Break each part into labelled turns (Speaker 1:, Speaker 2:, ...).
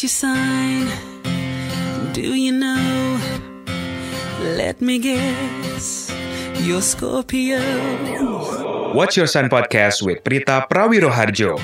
Speaker 1: you sign? Do you know? Let me guess. You're Scorpio.
Speaker 2: What's Your Sun Podcast with Prita Prawiroharjo.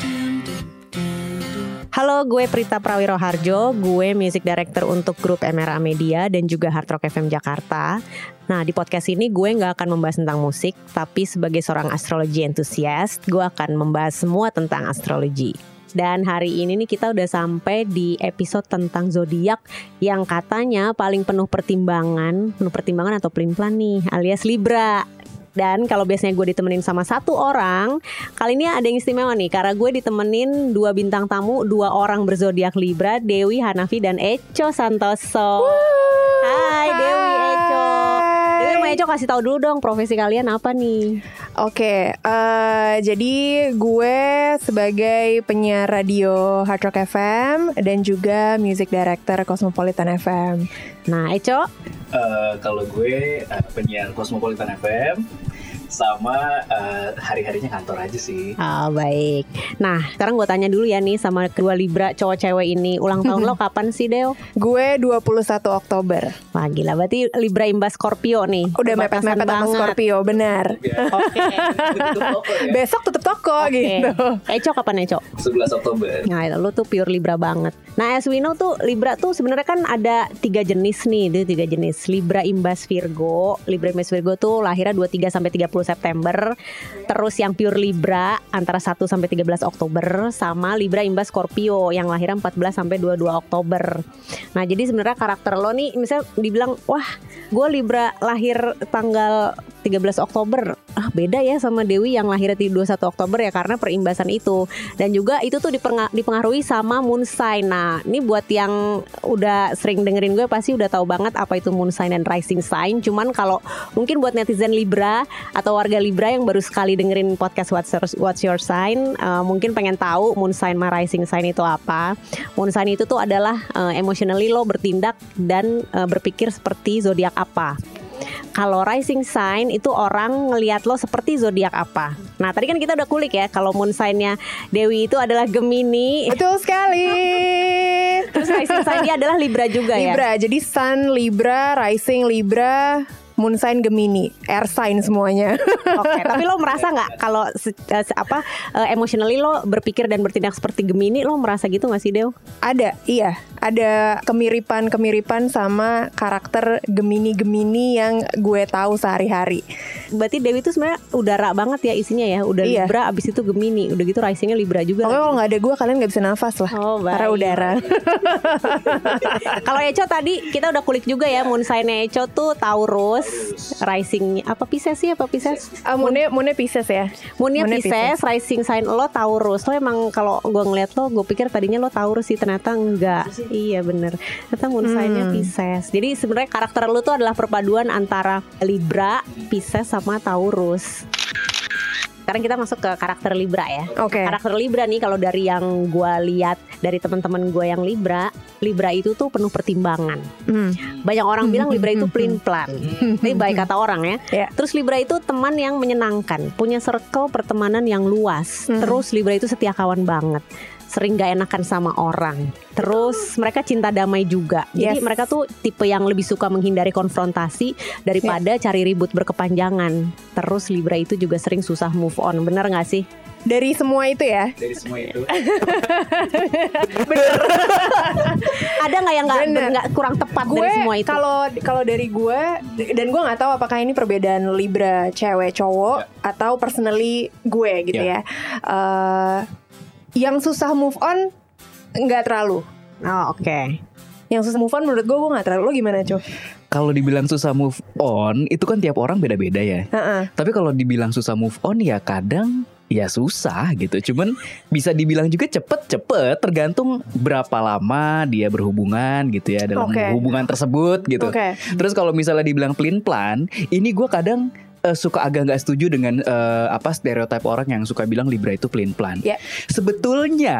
Speaker 1: Dum, dum, dum, dum.
Speaker 3: Halo, gue Prita Prawiroharjo, gue music director untuk grup MRA Media dan juga Hard Rock FM Jakarta. Nah, di podcast ini gue nggak akan membahas tentang musik, tapi sebagai seorang astrologi entusias, gue akan membahas semua tentang astrologi. Dan hari ini nih kita udah sampai di episode tentang zodiak yang katanya paling penuh pertimbangan, penuh pertimbangan atau pelin-pelan nih, alias Libra. Dan kalau biasanya gue ditemenin sama satu orang, Kali ini ada yang istimewa nih karena gue ditemenin dua bintang tamu, dua orang berzodiak Libra, Dewi Hanafi dan Eco Santoso. Hai Dewi Eco. Dewi sama Eco kasih tahu dulu dong profesi kalian apa nih?
Speaker 4: Oke, eh, jadi gue sebagai penyiar radio Hard Rock FM dan juga music director Cosmopolitan FM.
Speaker 3: Nah, Eco,
Speaker 5: Eh, kalau gue eh, penyiar Cosmopolitan FM sama eh, hari-harinya kantor aja sih.
Speaker 3: ah, baik. Nah, sekarang gue tanya dulu ya nih sama kedua Libra cowok cewek ini. Ulang tahun lo kapan sih, Dew?
Speaker 4: Gue 21 Oktober.
Speaker 3: Wah, gila. Berarti Libra imbas Scorpio nih.
Speaker 4: Udah
Speaker 3: Perbatasan
Speaker 4: mepet-mepet sama
Speaker 3: banget.
Speaker 4: Scorpio, benar.
Speaker 5: Biar
Speaker 3: Oke.
Speaker 5: tutup toko ya.
Speaker 4: Besok tutup toko
Speaker 3: Oke.
Speaker 4: gitu.
Speaker 3: Eco kapan Eco?
Speaker 5: 11 Oktober.
Speaker 3: Nah, lu tuh pure Libra banget. Nah, as we know tuh Libra tuh sebenarnya kan ada tiga jenis nih, itu tiga jenis. Libra imbas Virgo. Libra imbas Virgo tuh lahirnya 23 sampai 30 September. Terus yang pure Libra antara 1 sampai 13 Oktober sama Libra imbas Scorpio yang lahirnya 14 sampai 22 Oktober. Nah, jadi sebenarnya karakter lo nih misalnya dibilang, "Wah, gue Libra lahir tanggal 13 Oktober." Ah, beda ya sama Dewi yang lahirnya di 21 Oktober ya karena perimbasan itu dan juga itu tuh dipenga- dipengaruhi sama moon sign. Nah, ini buat yang udah sering dengerin gue pasti udah tahu banget apa itu moon sign dan rising sign. Cuman kalau mungkin buat netizen Libra atau warga Libra yang baru sekali dengerin podcast What's Your, What's Your Sign, eh, mungkin pengen tahu moon sign sama rising sign itu apa. Moon sign itu tuh adalah eh, emotionally lo bertindak dan eh, berpikir seperti zodiak apa kalau rising sign itu orang ngelihat lo seperti zodiak apa. Nah, tadi kan kita udah kulik ya kalau moon sign-nya Dewi itu adalah Gemini,
Speaker 4: Betul sekali.
Speaker 3: terus rising sign dia adalah Libra juga ya.
Speaker 4: Libra, jadi Sun Libra, Rising Libra, Moon sign Gemini, Air sign semuanya.
Speaker 3: Oke, tapi lo merasa nggak kalau se- eh, se- apa eh, emotionally lo berpikir dan bertindak seperti Gemini, lo merasa gitu nggak sih, Dew?
Speaker 4: Ada, iya. Ada kemiripan-kemiripan sama karakter Gemini-Gemini yang gue tahu sehari-hari.
Speaker 3: Berarti Dewi itu sebenarnya udara banget ya isinya ya, udah
Speaker 4: Iya.
Speaker 3: Libra abis itu Gemini, udah gitu risingnya Libra juga.
Speaker 4: Pokoknya kalau nggak ada gue kalian nggak bisa nafas lah.
Speaker 3: Oh, baik.
Speaker 4: Karena udara.
Speaker 3: Kalau Eco tadi kita udah kulik juga ya moon sign-nya Eco tuh Taurus, rising apa Pisces sih apa Pisces?
Speaker 4: Ah, Moonnya, moonnya Pisces ya.
Speaker 3: Moonnya
Speaker 4: Moonnya
Speaker 3: Pisces, rising sign lo Taurus. Lo emang kalau gue ngeliat lo, gue pikir tadinya lo Taurus sih, ternyata enggak. Iya bener. Ternyata moon sign-nya Pisces. Jadi sebenarnya karakter lo tuh adalah perpaduan antara Libra, Pisces sama Taurus. Sekarang kita masuk ke karakter Libra ya.
Speaker 4: Oke.
Speaker 3: Karakter Libra nih kalau dari yang gue lihat dari teman-teman gue yang Libra, Libra itu tuh penuh pertimbangan.
Speaker 4: Hmm.
Speaker 3: Banyak orang bilang Libra itu pelin-pelan. Tapi baik kata orang ya.
Speaker 4: Ya.
Speaker 3: Terus Libra itu teman yang menyenangkan, punya circle pertemanan yang luas.
Speaker 4: Mhm.
Speaker 3: Terus Libra itu setia kawan banget. Sering gak enakan sama orang. Terus mereka cinta damai juga. Jadi
Speaker 4: Yes.
Speaker 3: mereka tuh tipe yang lebih suka menghindari konfrontasi daripada
Speaker 4: Ya.
Speaker 3: cari ribut berkepanjangan. Terus Libra itu juga sering susah move on. Bener gak sih?
Speaker 4: Dari semua itu ya.
Speaker 5: Dari semua itu.
Speaker 3: Ada nggak yang nggak
Speaker 4: Bener.
Speaker 3: nggak kurang tepat
Speaker 4: Gue
Speaker 3: dari semua itu?
Speaker 4: kalau kalau dari gue dan gue nggak tahu apakah ini perbedaan Libra cewek cowok atau personally gue gitu ya. Eh, yang susah move on nggak terlalu.
Speaker 3: Oh, Oke.
Speaker 4: Yang susah move on menurut gue gue nggak terlalu. Lo gimana cuy?
Speaker 6: Kalau dibilang susah move on, itu kan tiap orang beda-beda ya.
Speaker 4: Heeh.
Speaker 6: Tapi kalau dibilang susah move on, ya kadang ya susah gitu. Cuman bisa dibilang juga cepet-cepet, tergantung berapa lama dia berhubungan gitu ya dalam
Speaker 4: Oke.
Speaker 6: hubungan tersebut gitu.
Speaker 4: Oke.
Speaker 6: Terus kalau misalnya dibilang pelin-pelan, ini gue kadang eh, suka agak nggak setuju dengan eh, apa stereotip orang yang suka bilang Libra itu plain plan.
Speaker 4: Ya. Hmm.
Speaker 6: Sebetulnya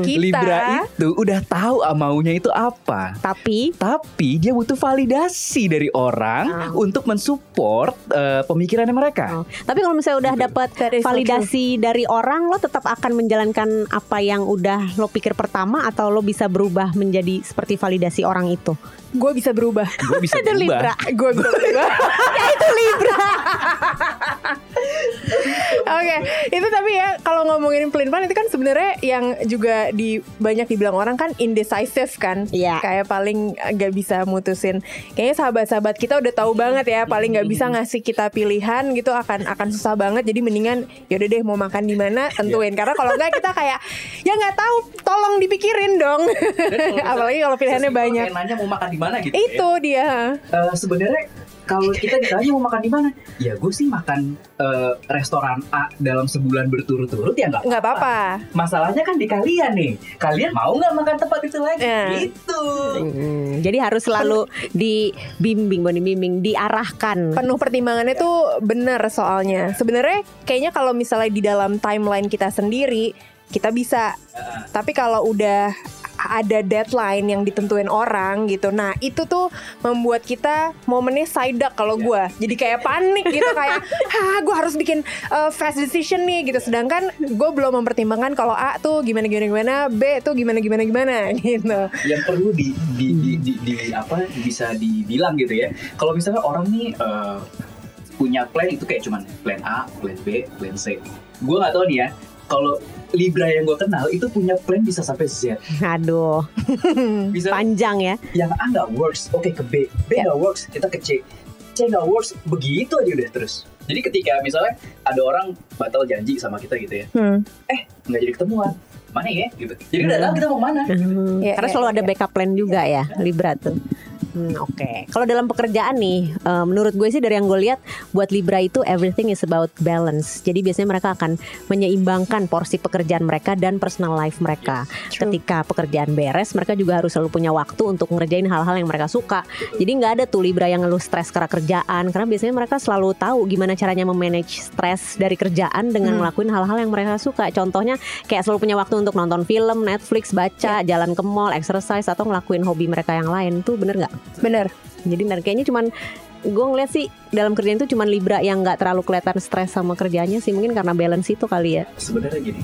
Speaker 4: Kita-
Speaker 6: Libra itu udah tahu ah, maunya itu apa.
Speaker 3: Tapi
Speaker 6: Tapi dia butuh validasi dari
Speaker 3: Ah.
Speaker 6: orang untuk mensupport eh, pemikirannya
Speaker 3: oh,
Speaker 6: mereka.
Speaker 3: tapi kalau misalnya udah dapat
Speaker 4: That is so
Speaker 3: validasi dari orang, lo tetap akan menjalankan apa yang udah lo pikir pertama atau lo bisa berubah menjadi seperti validasi orang itu.
Speaker 4: Gue bisa berubah.
Speaker 6: Gue bisa
Speaker 3: Ada Libra.
Speaker 6: berubah.
Speaker 4: Gue bisa berubah. Ya,
Speaker 3: Itu Libra.
Speaker 4: Oke, itu tapi ya kalau ngomongin pelin pelan itu kan sebenarnya yang juga di banyak dibilang orang kan indecisive kan,
Speaker 3: Iya.
Speaker 4: kayak paling nggak bisa mutusin. Kayaknya sahabat-sahabat kita udah tahu banget ya, paling nggak bisa ngasih kita pilihan gitu akan akan susah banget. Jadi mendingan yaudah deh mau makan di mana tentuin karena kalau nggak kita kayak ya nggak tahu, tolong dipikirin dong. Apalagi kalau pilihannya
Speaker 5: Terus
Speaker 4: banyak.
Speaker 5: kayak nanya mau makan di mana
Speaker 6: ya.
Speaker 5: gitu.
Speaker 4: Itu dia.
Speaker 5: Eh, sebenarnya kalau kita ditanya mau makan di mana, ya gue sih makan eh, restoran A dalam sebulan berturut-turut ya nggak.
Speaker 4: Nggak apa-apa.
Speaker 5: Masalahnya kan di kalian nih. Kalian mau nggak makan tempat itu lagi?
Speaker 4: Ya.
Speaker 5: Gitu.
Speaker 3: Mm, Jadi harus selalu dibimbing, bukan dibimbing, diarahkan.
Speaker 4: penuh pertimbangannya tuh bener soalnya sebenarnya kayaknya kalau misalnya di dalam timeline kita sendiri kita bisa tapi kalau udah ada deadline yang ditentuin orang gitu nah itu tuh membuat kita momennya sidak kalau gua jadi kayak panik gitu kayak ah gue harus bikin uh, fast decision nih gitu sedangkan gue belum mempertimbangkan kalau A tuh gimana gimana gimana B tuh gimana gimana gimana gitu
Speaker 5: yang perlu di, di, di, di- di- apa bisa dibilang gitu ya kalau misalnya orang nih eh, punya plan itu kayak cuman plan A plan B plan C gue nggak tahu nih ya kalau Libra yang gue kenal itu punya plan bisa sampai Z
Speaker 3: Aduh,
Speaker 5: bisa
Speaker 3: panjang ya.
Speaker 5: yang A nggak works oke ke B B nggak works kita ke C C nggak works begitu aja udah terus jadi ketika misalnya ada orang batal janji sama kita gitu ya
Speaker 4: Hmm.
Speaker 5: eh nggak jadi ketemuan mana ya gitu jadi udah tahu kita mau mana
Speaker 3: Hmm,
Speaker 4: Iya,
Speaker 3: Karena
Speaker 4: iya,
Speaker 3: selalu
Speaker 4: iya,
Speaker 3: ada backup plan juga ya, Libra tuh. Hmm, Oke, kalau dalam pekerjaan nih, eh, menurut gue sih dari yang gue lihat buat Libra itu everything is about balance. Jadi biasanya mereka akan menyeimbangkan porsi pekerjaan mereka dan personal life mereka.
Speaker 4: True.
Speaker 3: Ketika pekerjaan beres, mereka juga harus selalu punya waktu untuk ngerjain hal-hal yang mereka suka. Jadi nggak ada tuh Libra yang ngeluh stres karena kerjaan, karena biasanya mereka selalu tahu gimana caranya memanage stres dari kerjaan dengan
Speaker 4: Hmm.
Speaker 3: ngelakuin hal-hal yang mereka suka. Contohnya kayak selalu punya waktu untuk nonton film, Netflix, baca, jalan ke mall, exercise atau ngelakuin hobi mereka yang lain tuh bener nggak?
Speaker 4: bener
Speaker 3: Jadi bener kayaknya cuman gue ngeliat sih dalam kerjaan itu cuman Libra yang nggak terlalu kelihatan stres sama kerjanya sih mungkin karena balance itu kali ya.
Speaker 5: sebenarnya gini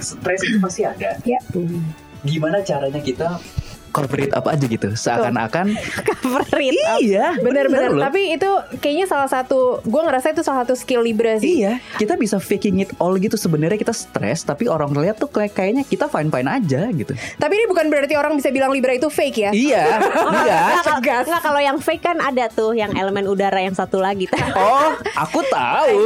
Speaker 5: stres itu pasti ada
Speaker 4: Ya.
Speaker 5: gimana caranya kita
Speaker 6: Corporate apa aja gitu. Seakan-akan
Speaker 3: Favorit.
Speaker 6: iya,
Speaker 4: Bener-bener.
Speaker 6: loh.
Speaker 4: Tapi itu kayaknya salah satu, gue ngerasa itu salah satu skill Libra sih.
Speaker 6: Iya, kita bisa faking it all gitu. Sebenarnya kita stres, tapi orang lihat tuh kayak kayaknya kita fine fine aja gitu.
Speaker 4: Tapi ini bukan berarti orang bisa bilang Libra itu fake ya.
Speaker 6: iya, iya.
Speaker 3: Nggak, kalau- nggak, kalau yang fake kan ada tuh yang elemen udara yang satu lagi.
Speaker 6: Oh, aku tahu.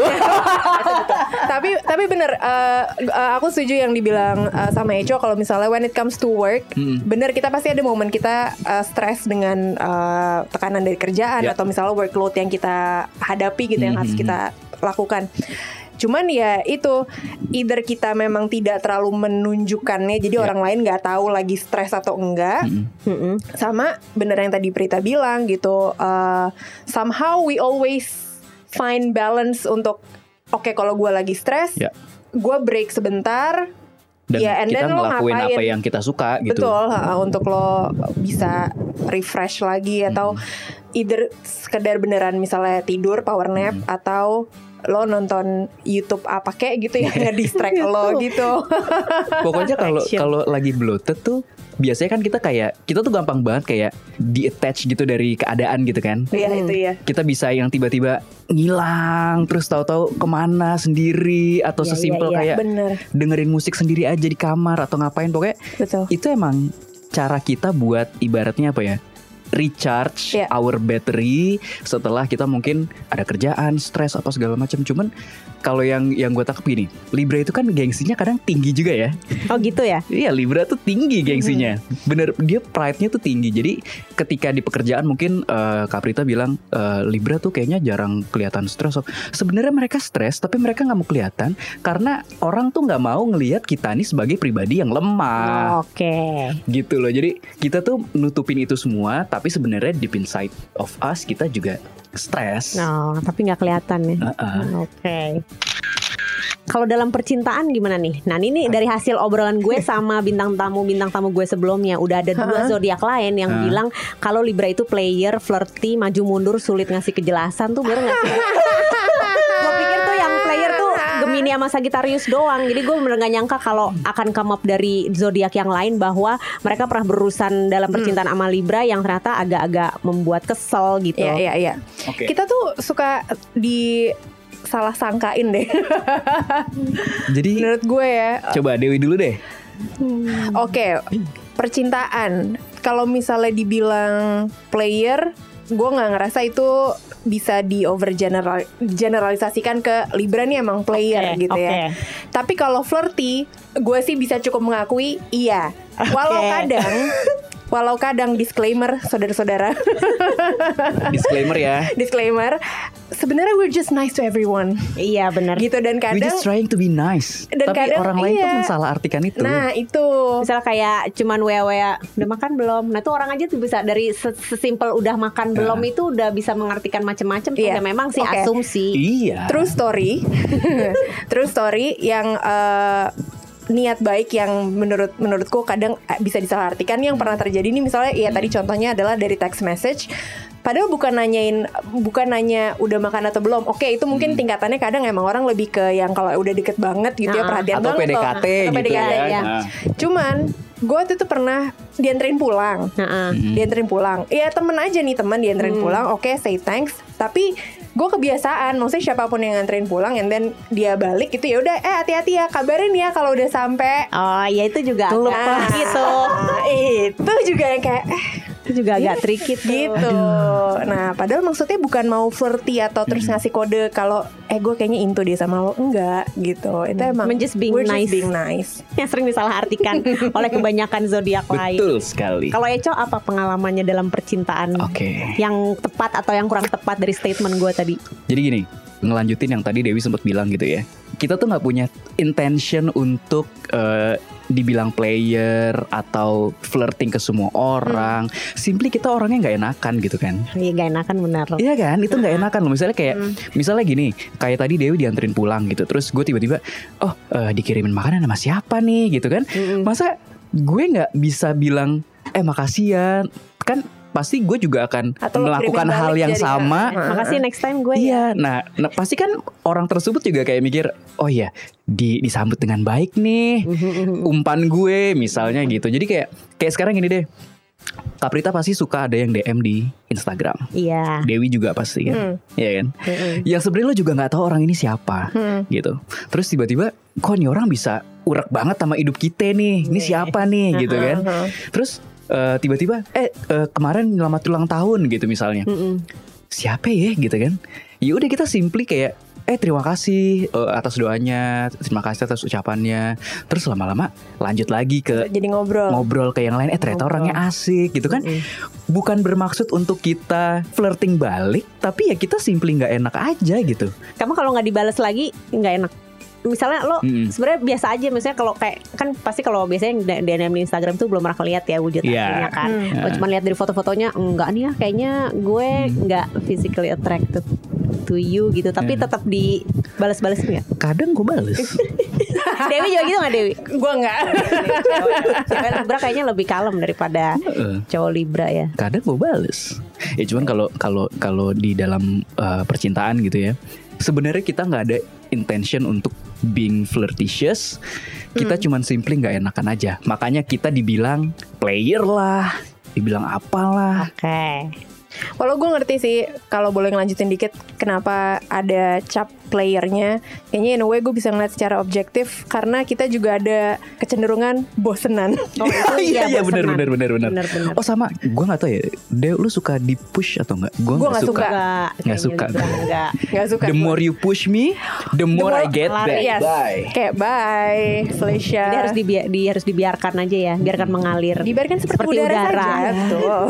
Speaker 4: tapi tapi bener, eh, eh, aku setuju yang dibilang eh, sama Eco kalau misalnya when it comes to work,
Speaker 6: Mm.
Speaker 4: bener kita pasti ada momen kita eh, stres dengan eh, tekanan dari kerjaan
Speaker 6: Ya.
Speaker 4: atau misalnya workload yang kita hadapi gitu yang harus
Speaker 6: Mhm.
Speaker 4: kita lakukan. Cuman ya itu either kita memang tidak terlalu menunjukkannya jadi
Speaker 6: Ya.
Speaker 4: orang lain nggak tahu lagi stres atau enggak.
Speaker 6: Mm-mm.
Speaker 3: Mm-mm.
Speaker 4: sama bener yang tadi Prita bilang gitu eh, somehow we always find balance untuk oke kalau gue lagi stres
Speaker 6: Ya.
Speaker 4: gue break sebentar
Speaker 6: Dan
Speaker 4: Iya, and
Speaker 6: kita
Speaker 4: then lo
Speaker 6: ngelakuin
Speaker 4: ngapain?
Speaker 6: apa yang kita suka gitu.
Speaker 4: betul ha, untuk lo bisa refresh lagi
Speaker 6: Hmm.
Speaker 4: atau either sekedar beneran misalnya tidur power nap
Speaker 6: Hmm.
Speaker 4: atau lo nonton YouTube apa kayak gitu yang
Speaker 6: Ya.
Speaker 4: nge-distract lo gitu
Speaker 6: Pokoknya kalau
Speaker 3: Action.
Speaker 6: kalau lagi bloated tuh biasanya kan kita kayak kita tuh gampang banget kayak di attach gitu dari keadaan gitu kan.
Speaker 4: Iya
Speaker 3: Hmm.
Speaker 4: itu ya
Speaker 6: kita bisa yang tiba-tiba ngilang terus tahu-tahu kemana sendiri atau
Speaker 3: Iya,
Speaker 6: sesimpel
Speaker 3: iya,
Speaker 6: kayak
Speaker 4: bener
Speaker 6: dengerin musik sendiri aja di kamar atau ngapain pokoknya
Speaker 4: betul
Speaker 6: itu emang cara kita buat ibaratnya apa ya recharge
Speaker 4: Iya.
Speaker 6: our battery setelah kita mungkin ada kerjaan stres apa segala macam cuman kalau yang yang gue tangkap gini Libra itu kan gengsinya kadang tinggi juga ya
Speaker 3: Oh gitu ya.
Speaker 6: Iya Libra tuh tinggi gengsinya Bener dia pride-nya tuh tinggi Jadi ketika di pekerjaan mungkin eh, Kaprita bilang eh, Libra tuh kayaknya jarang kelihatan stres Sebenarnya mereka stres tapi mereka nggak mau kelihatan Karena orang tuh nggak mau ngelihat kita nih sebagai pribadi yang lemah
Speaker 3: Oke.
Speaker 4: Iya.
Speaker 6: Gitu loh Jadi kita tuh nutupin itu semua Tapi sebenarnya deep inside of us kita juga stres.
Speaker 3: No,
Speaker 4: Nah.
Speaker 3: Nah, tapi nggak kelihatan ya.
Speaker 6: Heeh.
Speaker 3: Oke. Kalau dalam percintaan gimana nih? Nah ini dari hasil obrolan gue sama bintang tamu bintang tamu gue sebelumnya udah ada dua zodiak lain yang
Speaker 6: Hah?
Speaker 3: bilang kalau Libra itu player, flirty, maju mundur, sulit ngasih kejelasan tuh bener nggak sih? Gue pikir tuh yang player tuh Gemini sama Sagittarius doang. Jadi gue bener nggak nyangka kalau akan come up dari zodiak yang lain bahwa mereka pernah berurusan dalam percintaan sama Libra yang ternyata agak-agak membuat kesel gitu.
Speaker 4: Hmm.
Speaker 6: Oh.
Speaker 4: Iya, iya, iya.
Speaker 5: Oke.
Speaker 4: Kita tuh suka di salah sangkain deh.
Speaker 6: Jadi
Speaker 4: Menurut gue ya.
Speaker 6: coba Dewi dulu deh.
Speaker 4: Oke, percintaan. Kalau misalnya dibilang player, gue nggak ngerasa itu bisa di over generalisasikan ke Libra nih emang player
Speaker 3: Oke,
Speaker 4: gitu ya.
Speaker 3: oke.
Speaker 4: Tapi kalau flirty, gue sih bisa cukup mengakui iya. Walau
Speaker 3: Oke.
Speaker 4: kadang, walau kadang disclaimer saudara-saudara,
Speaker 6: Disclaimer ya.
Speaker 4: disclaimer. Sebenarnya we're just nice to everyone.
Speaker 3: Iya bener.
Speaker 4: Gitu dan
Speaker 6: We
Speaker 4: kadang
Speaker 6: just trying to be nice.
Speaker 4: Dan
Speaker 6: Tapi
Speaker 4: kadang,
Speaker 6: orang lain tuh
Speaker 4: iya.
Speaker 6: mensalah artikan itu.
Speaker 4: Nah, itu.
Speaker 3: Misalnya kayak cuman wea-wea udah makan belum. Nah, itu orang aja tuh bisa dari se- sesimpel udah
Speaker 6: Nah.
Speaker 3: makan belum itu udah bisa mengartikan macam-macam tuh.
Speaker 4: Iya.
Speaker 3: Ya memang sih
Speaker 4: Oke.
Speaker 3: asumsi.
Speaker 6: iya.
Speaker 4: True story. True story yang eh, niat baik yang menurut menurutku kadang eh, bisa disalahartikan yang pernah terjadi nih misalnya ya tadi contohnya adalah dari text message padahal bukan nanyain bukan nanya udah makan atau belum. Oke, itu mungkin
Speaker 6: Hmm.
Speaker 4: tingkatannya kadang emang orang lebih ke yang kalau udah deket banget gitu
Speaker 3: Ah,
Speaker 4: ya perhatian banget
Speaker 6: Atau
Speaker 4: loh.
Speaker 6: PDKT
Speaker 4: Atau
Speaker 6: gitu
Speaker 4: PDKT,
Speaker 6: ya.
Speaker 4: iya.
Speaker 5: Nah,
Speaker 4: Cuman gue waktu itu pernah dianterin pulang
Speaker 3: Heeh.
Speaker 4: dianterin pulang. Iya temen aja nih temen dianterin
Speaker 3: Mm.
Speaker 4: pulang. Oke say thanks. Tapi gue kebiasaan, maksudnya siapapun yang nganterin pulang, and then dia balik itu ya udah, eh hati-hati ya, kabarin ya kalau udah sampai.
Speaker 3: Oh, ya itu juga agak
Speaker 4: Nah,
Speaker 3: gitu.
Speaker 4: itu juga yang kayak eh,
Speaker 3: Itu juga agak tricky tuh.
Speaker 4: gitu. Nah padahal maksudnya bukan mau flirty atau terus ngasih kode kalau eh gue kayaknya into deh sama lo enggak gitu. Itu emang
Speaker 3: Men just being
Speaker 4: we're
Speaker 3: nice.
Speaker 4: being nice.
Speaker 3: Yang sering disalahartikan oleh kebanyakan zodiak lain.
Speaker 6: Betul sekali.
Speaker 3: Kalau Eco apa pengalamannya dalam percintaan?
Speaker 6: Oke.
Speaker 3: Yang tepat atau yang kurang tepat dari statement gue tadi?
Speaker 6: Jadi gini, ngelanjutin yang tadi Dewi sempat bilang gitu ya. Kita tuh nggak punya intention untuk eh, dibilang player atau flirting ke semua orang.
Speaker 3: Hmm.
Speaker 6: Simply kita orangnya nggak enakan gitu kan.
Speaker 3: Iya, gak enakan benar.
Speaker 6: Iya kan, itu nggak enakan loh. Misalnya kayak, misalnya gini, kayak tadi Dewi dianterin pulang gitu. Terus gue tiba-tiba, oh eh, dikirimin makanan sama siapa nih gitu kan? Masa gue nggak bisa bilang, eh makasih ya, kan? Pasti gue juga akan
Speaker 4: Atau lo
Speaker 6: melakukan
Speaker 4: kirimin
Speaker 6: hal
Speaker 4: balik
Speaker 6: yang
Speaker 4: jadi,
Speaker 6: sama
Speaker 4: ah,
Speaker 3: Makasih next time gue ya.
Speaker 6: Iya, nah, nah, pasti kan orang tersebut juga kayak mikir, oh iya, di, disambut dengan baik nih, umpan gue misalnya gitu. Jadi kayak kayak sekarang gini deh, Kaprita pasti suka ada yang DM di Instagram,
Speaker 3: Iya.
Speaker 6: Dewi juga pasti kan, Iya kan?
Speaker 3: Mm-mm.
Speaker 6: Yang sebenarnya lo juga nggak tahu orang ini siapa, gitu. Terus tiba-tiba, kok nih orang bisa urak banget sama hidup kita nih, ini siapa nih, gitu kan?
Speaker 4: Uh-huh.
Speaker 6: Terus eh, tiba-tiba, eh eh, kemarin selamat ulang tahun gitu misalnya
Speaker 4: Hmm.
Speaker 3: Mm-mm.
Speaker 6: siapa ya gitu kan ya udah kita simply kayak eh terima kasih eh, atas doanya terima kasih atas ucapannya terus lama-lama lanjut lagi ke
Speaker 4: Jadi ngobrol.
Speaker 6: ngobrol ke yang lain eh ternyata orangnya asik gitu
Speaker 3: Mm.
Speaker 6: kan bukan bermaksud untuk kita flirting balik tapi ya kita simply nggak enak aja gitu
Speaker 3: kamu kalau nggak dibales lagi nggak enak misalnya lo
Speaker 6: Mm-mm.
Speaker 3: sebenarnya biasa aja misalnya kalau kayak kan pasti kalau biasanya yang di- DM di Instagram tuh belum pernah lihat ya wujud
Speaker 6: Iya. Hmm.
Speaker 3: aslinya kan
Speaker 4: Hmm.
Speaker 3: lo cuma lihat dari foto-fotonya enggak nih ya kayaknya gue nggak physically attracted to you gitu tapi
Speaker 6: Iya.
Speaker 3: tetap dibales-bales nggak
Speaker 6: kadang gue bales
Speaker 3: Dewi juga gitu nggak Dewi
Speaker 4: Gue enggak.
Speaker 3: cewek Libra kayaknya lebih kalem daripada
Speaker 6: Heeh.
Speaker 3: cowok Libra ya
Speaker 6: kadang gue bales ya cuman kalau kalau kalau di dalam uh, percintaan gitu ya sebenarnya kita nggak ada intention untuk being flirtatious kita cuman simply nggak enakan aja makanya kita dibilang player lah dibilang apalah
Speaker 3: oke
Speaker 4: Walau gue ngerti sih kalau boleh ngelanjutin dikit kenapa ada cap playernya Kayaknya in a way gue bisa ngeliat secara objektif Karena kita juga ada kecenderungan bosenan
Speaker 3: Oh, itu
Speaker 6: iya
Speaker 3: bosenan.
Speaker 6: iya benar benar benar benar
Speaker 3: Bener-bener.
Speaker 6: oh sama gue nggak tahu ya Deo lu suka di push atau nggak gue
Speaker 4: Gua
Speaker 6: nggak
Speaker 4: nggak
Speaker 6: suka,
Speaker 3: Nggak, kayaknya
Speaker 6: suka.
Speaker 3: Libra nggak
Speaker 4: Gak suka
Speaker 6: the more you push me the more, I
Speaker 4: more-
Speaker 6: get
Speaker 3: lari,
Speaker 6: back
Speaker 4: Yes.
Speaker 6: Bye.
Speaker 4: Kayak bye Felicia
Speaker 3: Jadi harus dibi- di- harus dibiarkan aja ya, biarkan mengalir.
Speaker 4: Hmm. Dibiarkan seperti, udara, saja Betul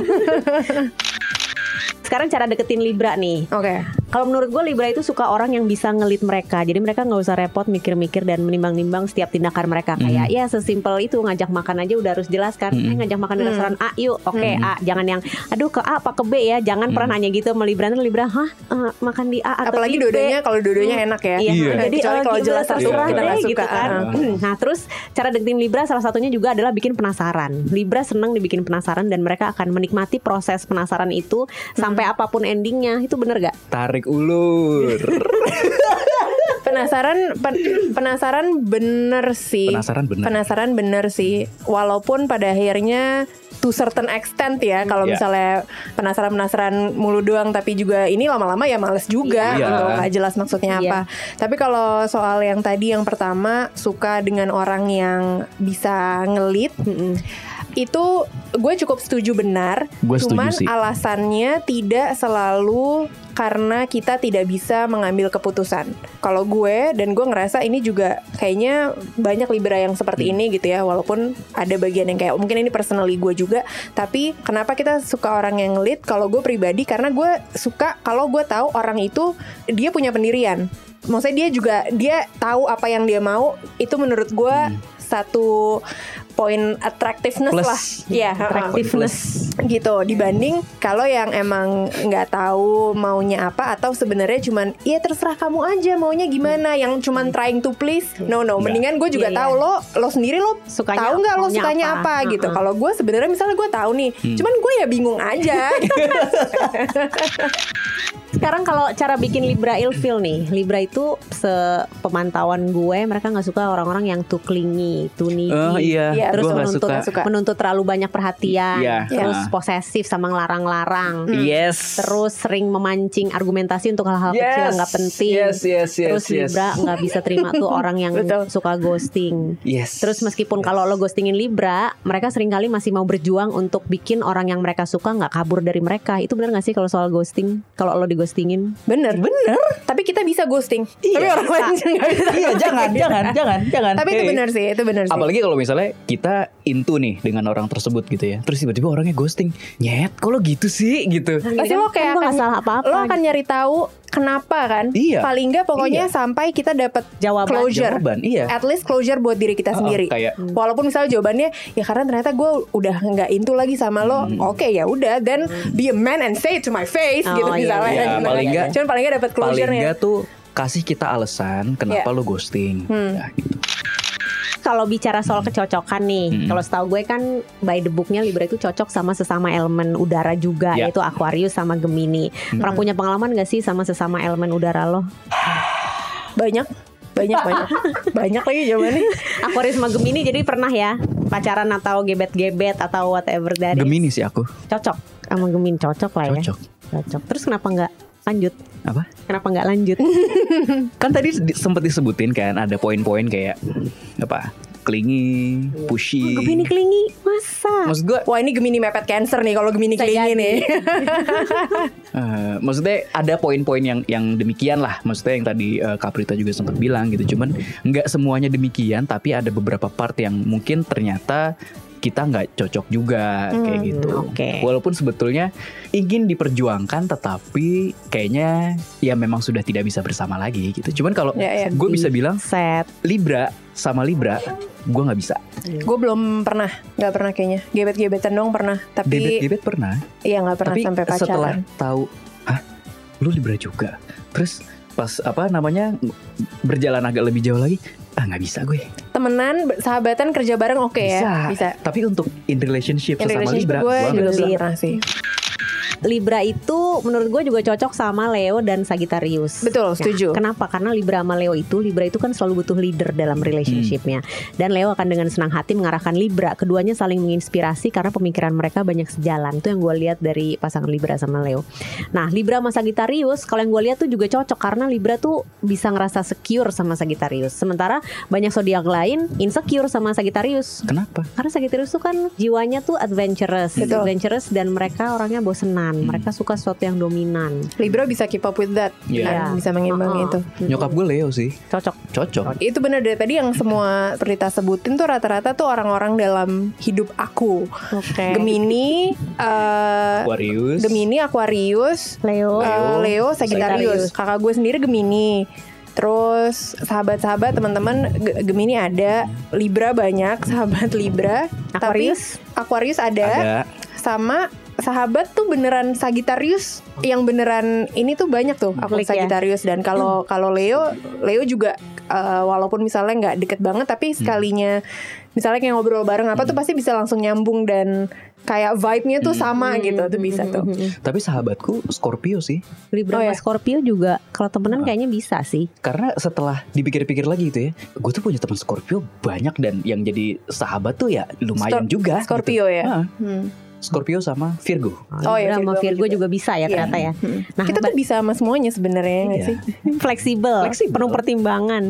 Speaker 3: Sekarang cara deketin Libra nih.
Speaker 4: Oke
Speaker 3: Kalau menurut gue Libra itu suka orang yang bisa ngelit mereka. Jadi mereka nggak usah repot mikir-mikir dan menimbang-nimbang setiap tindakan mereka.
Speaker 4: Hmm.
Speaker 3: Kayak ya sesimpel itu ngajak makan aja udah harus jelas kan.
Speaker 6: Mm.
Speaker 3: Eh, ngajak makan di
Speaker 4: Mm.
Speaker 3: restoran A yuk. Oke A, jangan yang aduh ke A apa ke B ya. Jangan pernah nanya gitu sama Libra. Nanti Libra, "Hah, eh, makan di A atau
Speaker 4: Hmm. Apalagi
Speaker 3: di B?"
Speaker 4: dua-duanya kalau dua-duanya enak ya.
Speaker 3: Iya,
Speaker 6: Iya.
Speaker 3: jadi eh,
Speaker 4: Kecuali kalau
Speaker 3: gimana
Speaker 4: jelas
Speaker 3: terserah
Speaker 6: tersurat,
Speaker 3: deh,
Speaker 4: kita suka. ah.
Speaker 3: gitu kan. nah, terus cara deketin Libra salah satunya juga adalah bikin penasaran. Libra senang dibikin penasaran dan mereka akan menikmati proses penasaran itu sampai
Speaker 4: Hmm.
Speaker 3: apapun endingnya. Itu bener gak?
Speaker 6: Tarik ulur.
Speaker 4: Penasaran pen- penasaran bener sih.
Speaker 6: Penasaran bener. Hmm.
Speaker 4: Penasaran bener sih. Walaupun pada akhirnya to certain extent ya kalau
Speaker 6: Iya.
Speaker 4: misalnya penasaran-penasaran mulu doang tapi juga ini lama-lama ya males juga
Speaker 6: Iya.
Speaker 4: gitu nggak jelas maksudnya
Speaker 3: Iya.
Speaker 4: apa. Tapi kalau soal yang tadi yang pertama suka dengan orang yang bisa ngelit
Speaker 3: Mm-mm.
Speaker 4: itu gue cukup setuju benar.
Speaker 6: Gue setuju
Speaker 4: Cuman
Speaker 6: sih.
Speaker 4: alasannya tidak selalu karena kita tidak bisa mengambil keputusan. Kalau gue dan gue ngerasa ini juga kayaknya banyak libra yang
Speaker 6: Hmm.
Speaker 4: seperti ini gitu ya, walaupun ada bagian yang kayak mungkin ini personally gue juga. Tapi kenapa kita suka orang yang lead? Kalau gue pribadi karena gue suka kalau gue tahu orang itu dia punya pendirian. Maksudnya dia juga dia tahu apa yang dia mau. Itu menurut gue satu poin attractiveness
Speaker 6: Hmm. Plus.
Speaker 4: lah. Iya, heeh
Speaker 3: Attractiveness.
Speaker 4: gitu dibanding kalau yang emang nggak tahu maunya apa atau sebenarnya cuman ya terserah kamu aja maunya gimana yang cuman trying to please no no mendingan gue juga
Speaker 3: Hmm. Iya, iya.
Speaker 4: tahu lo lo sendiri lo
Speaker 3: Sukanya-
Speaker 4: tahu nggak lo
Speaker 3: maunya
Speaker 4: sukanya
Speaker 3: apa? Hmm.
Speaker 4: apa, gitu
Speaker 3: Heeh. Hmm.
Speaker 4: kalau gue sebenarnya misalnya gue tahu nih cuman gue ya bingung aja
Speaker 3: Sekarang kalau cara bikin Libra ilfil nih, Libra itu sepemantauan gue mereka nggak suka orang-orang yang too clingy, too needy.
Speaker 6: Oh iya,
Speaker 4: Iya,
Speaker 6: gue
Speaker 3: terus
Speaker 6: gak
Speaker 3: menuntut
Speaker 6: suka.
Speaker 4: nggak suka.
Speaker 3: menuntut terlalu banyak perhatian,
Speaker 6: Iya.
Speaker 3: terus
Speaker 6: Iya.
Speaker 3: posesif sama ngelarang-larang.
Speaker 6: Yes.
Speaker 3: Terus sering memancing argumentasi untuk hal-hal kecil yang nggak penting.
Speaker 6: Yes, yes, yes,
Speaker 3: Terus
Speaker 6: yes.
Speaker 3: Libra nggak bisa terima tuh orang yang
Speaker 4: Betul.
Speaker 3: suka ghosting.
Speaker 6: Yes.
Speaker 3: Terus meskipun kalau lo ghostingin Libra, mereka seringkali masih mau berjuang untuk bikin orang yang mereka suka nggak kabur dari mereka. Itu benar nggak sih kalau soal ghosting? Kalau lo digostingin?
Speaker 4: bener bener tapi kita bisa ghosting tapi orang lain nggak bisa
Speaker 6: Iya, jangan, jangan, jangan, jangan.
Speaker 4: tapi itu
Speaker 6: Hey.
Speaker 4: bener sih itu bener sih
Speaker 6: Apalagi kalau misalnya kita into nih dengan orang tersebut gitu ya. Terus tiba-tiba orangnya ghosting. Nyet, kalau gitu sih gitu.
Speaker 4: Pasti lo kayak
Speaker 3: kan nggak
Speaker 4: akan-
Speaker 3: salah apa-apa.
Speaker 4: lo akan nyari tahu kenapa kan
Speaker 6: Iya.
Speaker 4: paling nggak pokoknya
Speaker 6: Iya.
Speaker 4: sampai kita dapat
Speaker 3: Jawaban.
Speaker 4: closure Eh,
Speaker 6: Jawaban, iya.
Speaker 4: at least closure buat diri kita
Speaker 6: Oh,
Speaker 4: sendiri Hmm.
Speaker 6: kayak-
Speaker 4: walaupun misalnya jawabannya ya karena ternyata gue udah nggak into lagi sama lo
Speaker 6: Hmm.
Speaker 4: oke ya udah then be a man and say it to my face
Speaker 3: Oh,
Speaker 4: gitu
Speaker 3: iya,
Speaker 4: misalnya
Speaker 6: iya,
Speaker 4: Gitu.
Speaker 6: paling nggak-
Speaker 4: cuman paling nggak dapat
Speaker 6: Paling
Speaker 4: closure ya. nya
Speaker 6: enggak tuh kasih kita alasan kenapa lo ghosting. Ya, gitu.
Speaker 3: kalau bicara soal kecocokan nih,
Speaker 6: Hmm.
Speaker 3: kalau setahu gue kan by the booknya Libra itu cocok sama sesama elemen udara juga,
Speaker 6: Ya.
Speaker 3: yaitu Aquarius sama Gemini. Pernah punya pengalaman gak sih sama sesama elemen udara lo?
Speaker 4: banyak banyak banyak banyak lagi jawabannya
Speaker 3: Aquarius sama Gemini jadi pernah ya pacaran atau gebet-gebet atau whatever dari
Speaker 6: Gemini sih aku.
Speaker 3: cocok sama Gemini cocok lah ya.
Speaker 6: Cocok.
Speaker 3: Cocok. Terus kenapa nggak lanjut?
Speaker 6: Apa?
Speaker 3: Kenapa nggak lanjut?
Speaker 6: Kan tadi di- sempet disebutin kan ada poin-poin kayak apa? Clingy, pushy.
Speaker 3: Gemini klingi, masa?
Speaker 6: Maksud gue
Speaker 4: wah ini gemini mepet cancer nih kalau gemini
Speaker 3: Bisa
Speaker 4: kelingi
Speaker 3: jadi.
Speaker 4: nih
Speaker 6: Eh, maksudnya ada poin-poin yang yang demikian lah. Maksudnya yang tadi eh, Kaprita juga sempat bilang gitu. Cuman nggak semuanya demikian, tapi ada beberapa part yang mungkin ternyata kita nggak cocok juga kayak
Speaker 4: Hmm,
Speaker 6: gitu.
Speaker 3: oke.
Speaker 6: Walaupun sebetulnya ingin diperjuangkan, tetapi kayaknya ya memang sudah tidak bisa bersama lagi gitu. Cuman kalau
Speaker 4: Ya, ya.
Speaker 6: gue bisa bilang
Speaker 3: Set.
Speaker 6: Libra sama Libra, gue nggak bisa.
Speaker 4: gue belum pernah nggak pernah kayaknya gebet gebetan dong pernah tapi
Speaker 6: Debet-debet pernah.
Speaker 4: iya nggak pernah
Speaker 6: gitu? tapi
Speaker 4: sampai pacaran
Speaker 6: setelah tahu hah lu libra juga terus pas apa namanya berjalan agak lebih jauh lagi ah nggak bisa gue
Speaker 4: temenan ber- sahabatan kerja bareng oke ya bisa
Speaker 6: tapi untuk in relationship
Speaker 4: In
Speaker 6: sesama
Speaker 4: relationship
Speaker 6: libra
Speaker 4: gue
Speaker 6: gua nggak
Speaker 4: juga
Speaker 6: bisa.
Speaker 4: belum pernah sih
Speaker 3: Libra itu menurut gue juga cocok sama Leo dan Sagittarius.
Speaker 4: Betul,
Speaker 3: Ya,
Speaker 4: setuju.
Speaker 3: kenapa? Karena Libra sama Leo itu Libra itu kan selalu butuh leader dalam relationshipnya dan Leo akan dengan senang hati mengarahkan Libra. Keduanya saling menginspirasi karena pemikiran mereka banyak sejalan. Itu yang gue lihat dari pasangan Libra sama Leo. Nah Libra sama Sagittarius kalau yang gue lihat tuh juga cocok karena Libra tuh bisa ngerasa secure sama Sagittarius. Sementara banyak zodiak lain insecure sama Sagittarius
Speaker 6: kenapa
Speaker 3: karena Sagittarius tuh kan jiwanya tuh adventurous,
Speaker 4: Betul.
Speaker 3: adventurous dan mereka orangnya bosenan. dominan. Mereka suka sesuatu yang dominan.
Speaker 4: Libra bisa keep up with that
Speaker 6: Iya.
Speaker 4: kan? bisa mengimbangi
Speaker 3: Heeh.
Speaker 4: itu
Speaker 6: Nyokap gue Leo sih.
Speaker 3: Cocok.
Speaker 6: Cocok.
Speaker 4: itu benar dari tadi yang semua cerita sebutin tuh rata-rata tuh orang-orang dalam hidup aku
Speaker 3: Oke.
Speaker 4: Gemini eh,
Speaker 6: Aquarius.
Speaker 4: Gemini Aquarius
Speaker 3: Leo.
Speaker 4: Eh, Leo
Speaker 3: Sagittarius.
Speaker 4: Sagittarius. Kakak gue sendiri Gemini. Terus sahabat-sahabat teman-teman Ge- Gemini ada, Libra banyak, sahabat Libra,
Speaker 3: Aquarius.
Speaker 4: tapi Aquarius ada,
Speaker 6: Ada.
Speaker 4: sama sahabat tuh beneran Sagittarius yang beneran ini tuh banyak tuh aku
Speaker 3: Klik ya.
Speaker 4: Sagittarius dan kalau kalau Leo Leo juga eh, walaupun misalnya nggak deket banget tapi sekalinya misalnya kayak ngobrol bareng apa tuh pasti bisa langsung nyambung dan kayak vibe-nya tuh sama
Speaker 3: Hmm,
Speaker 4: gitu tuh bisa tuh
Speaker 6: Tapi sahabatku Scorpio sih.
Speaker 3: Libra
Speaker 4: Oh,
Speaker 3: sama
Speaker 4: ya.
Speaker 3: hmm. Scorpio juga kalau
Speaker 6: Ah.
Speaker 3: temenan kayaknya bisa sih.
Speaker 6: Karena setelah dipikir-pikir lagi gitu ya, gue tuh punya teman Scorpio banyak dan yang jadi sahabat tuh ya lumayan
Speaker 4: Scorp-
Speaker 6: juga.
Speaker 4: Scorpio
Speaker 6: gitu.
Speaker 4: ya?
Speaker 6: Ah,
Speaker 4: Hmm.
Speaker 6: Scorpio sama Virgo.
Speaker 4: Oh,
Speaker 3: Libra
Speaker 4: ya,
Speaker 3: sama
Speaker 4: Virgo
Speaker 3: Virgo
Speaker 4: juga.
Speaker 3: juga bisa ya ternyata ya.
Speaker 4: Hmm.
Speaker 3: Nah,
Speaker 4: kita tuh bisa sama semuanya sebenarnya ya nggak
Speaker 6: Iya.
Speaker 4: sih?
Speaker 3: fleksibel,
Speaker 6: Fleksibel.
Speaker 3: penuh pertimbangan.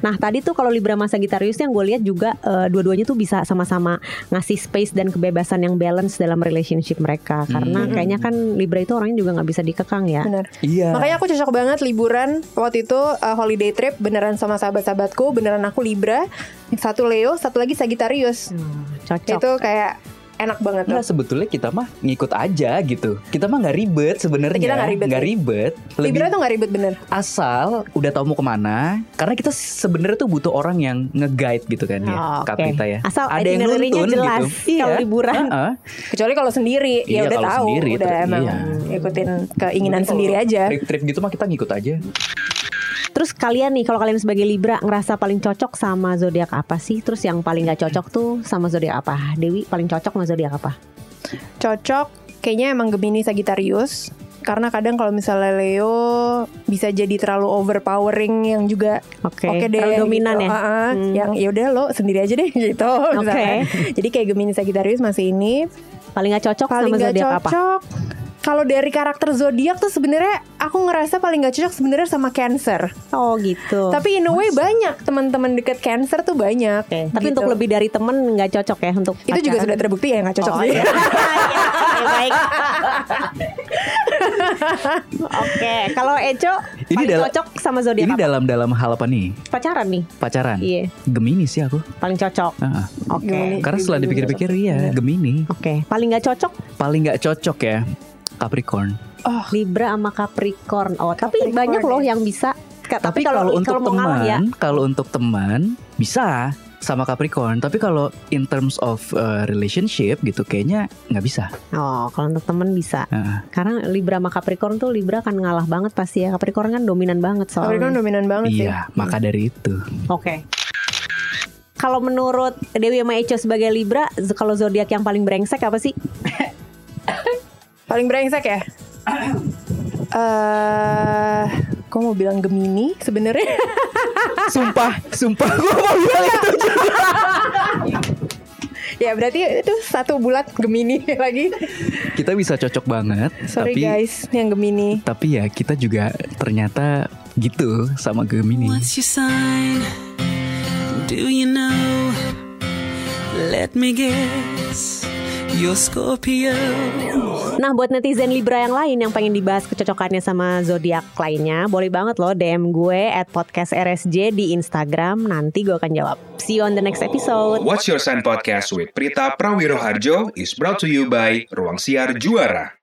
Speaker 3: Nah tadi tuh kalau Libra sama Sagittarius yang gue lihat juga eh, dua-duanya tuh bisa sama-sama ngasih space dan kebebasan yang balance dalam relationship mereka. Karena
Speaker 6: Hmm.
Speaker 3: kayaknya kan Libra itu orangnya juga nggak bisa dikekang ya.
Speaker 4: Benar.
Speaker 6: Iya.
Speaker 4: Makanya aku cocok banget liburan waktu itu uh, holiday trip beneran sama sahabat-sahabatku, beneran aku Libra, satu Leo, satu lagi Sagittarius.
Speaker 3: Cocok.
Speaker 4: Hmm. Itu kayak enak banget tuh.
Speaker 6: Nah sebetulnya kita mah ngikut aja gitu. Kita mah nggak ribet sebenarnya.
Speaker 4: Kita nggak ribet.
Speaker 6: ribet. Lebih
Speaker 4: Libra tuh gak ribet bener
Speaker 6: asal udah tahu mau kemana. Karena kita sebenarnya tuh butuh orang yang nge-guide gitu kan ya,
Speaker 3: Oh,
Speaker 4: Ah,
Speaker 3: oke.
Speaker 6: Kaprita ya.
Speaker 3: Asal
Speaker 6: Ada yang
Speaker 3: itinerary-nya
Speaker 6: nuntun
Speaker 3: jelas
Speaker 6: gitu.
Speaker 3: kalau
Speaker 6: Iya.
Speaker 3: liburan.
Speaker 6: Heeh.
Speaker 4: Eh. Kecuali kalau sendiri
Speaker 6: Iya,
Speaker 4: Ya udah
Speaker 6: kalau
Speaker 4: tahu
Speaker 6: sendiri,
Speaker 4: Udah
Speaker 6: ter-
Speaker 4: emang
Speaker 6: iya.
Speaker 4: ikutin keinginan sendiri aja
Speaker 6: Trip-trip gitu mah kita ngikut aja.
Speaker 3: Terus kalian nih kalau kalian sebagai Libra ngerasa paling cocok sama zodiak apa sih? Terus yang paling nggak cocok tuh sama zodiak apa? Dewi paling cocok sama zodiak apa?
Speaker 4: Cocok Kayaknya emang Gemini Sagittarius Karena kadang kalau misalnya Leo Bisa jadi terlalu overpowering Yang juga
Speaker 3: Oke.
Speaker 4: Oke deh,
Speaker 3: Terlalu dominan
Speaker 4: gitu.
Speaker 3: ya.
Speaker 4: Ah, ah,
Speaker 3: Hmm.
Speaker 4: Yang ya udah lo sendiri aja deh gitu.
Speaker 3: Oke.
Speaker 4: misalkan. Jadi kayak Gemini Sagittarius masih ini
Speaker 3: Paling nggak cocok
Speaker 4: paling
Speaker 3: sama
Speaker 4: gak
Speaker 3: zodiak apa?
Speaker 4: cocok. Kalau dari karakter zodiak tuh sebenarnya aku ngerasa paling gak cocok sebenarnya sama Cancer.
Speaker 3: Oh gitu.
Speaker 4: Tapi in a way banyak teman-teman deket Cancer tuh banyak.
Speaker 3: Oke, tapi
Speaker 4: Gitu.
Speaker 3: untuk lebih dari temen nggak cocok ya untuk
Speaker 4: itu juga sudah
Speaker 3: pacaran?
Speaker 4: terbukti ya gak cocok
Speaker 3: Oh,
Speaker 4: sih.
Speaker 3: iya. Iya, baik. Oke, kalau Eco
Speaker 6: Ini
Speaker 3: paling
Speaker 6: dalam-
Speaker 3: cocok sama zodiak
Speaker 6: Ini
Speaker 3: apa?
Speaker 6: dalam-dalam hal apa nih?
Speaker 3: pacaran nih,
Speaker 6: Pacaran.
Speaker 3: Iya.
Speaker 6: Gemini sih aku.
Speaker 3: paling cocok.
Speaker 6: Ah, ah.
Speaker 3: Oke.
Speaker 4: Gemini.
Speaker 6: Karena setelah dipikir-pikir iya Gemini.
Speaker 3: Oke, paling nggak cocok
Speaker 6: Paling nggak cocok ya Capricorn.
Speaker 3: Libra sama Capricorn. Oh, tapi
Speaker 4: Capricorn
Speaker 3: banyak loh
Speaker 4: ya.
Speaker 3: yang bisa. Ka-
Speaker 6: Tapi kalau untuk
Speaker 3: mau ngalah ya.
Speaker 6: teman, kalau untuk teman bisa sama Capricorn. Tapi kalau in terms of uh, relationship gitu, kayaknya nggak bisa.
Speaker 3: Oh, kalau untuk teman bisa.
Speaker 6: Heeh.
Speaker 3: Karena Libra sama Capricorn tuh Libra akan ngalah banget pasti ya. Capricorn kan dominan banget soalnya.
Speaker 4: Capricorn dominan banget sih.
Speaker 6: Iya, maka dari itu.
Speaker 3: Oke. Kalau menurut Dewi sama Eco sebagai Libra, z- kalau zodiak yang paling brengsek apa sih?
Speaker 4: Paling brengsek ya? Eh, kok mau bilang Gemini sebenarnya?
Speaker 6: Sumpah, sumpah gue mau bilang itu.
Speaker 4: ya berarti itu satu bulat Gemini lagi.
Speaker 6: Kita bisa cocok banget,
Speaker 4: Sorry
Speaker 6: tapi
Speaker 4: guys yang Gemini.
Speaker 6: tapi ya kita juga ternyata gitu sama Gemini.
Speaker 1: What's your sign? Do you know? Let me guess. You're Scorpio.
Speaker 3: Nah, buat netizen Libra yang lain yang pengen dibahas kecocokannya sama zodiak lainnya, boleh banget loh DM gue at podcast RSJ di Instagram. Nanti gue akan jawab. See you on the next episode.
Speaker 2: What's Your Sign Podcast with Prita Prawiroharjo is brought to you by Ruang Siar Juara.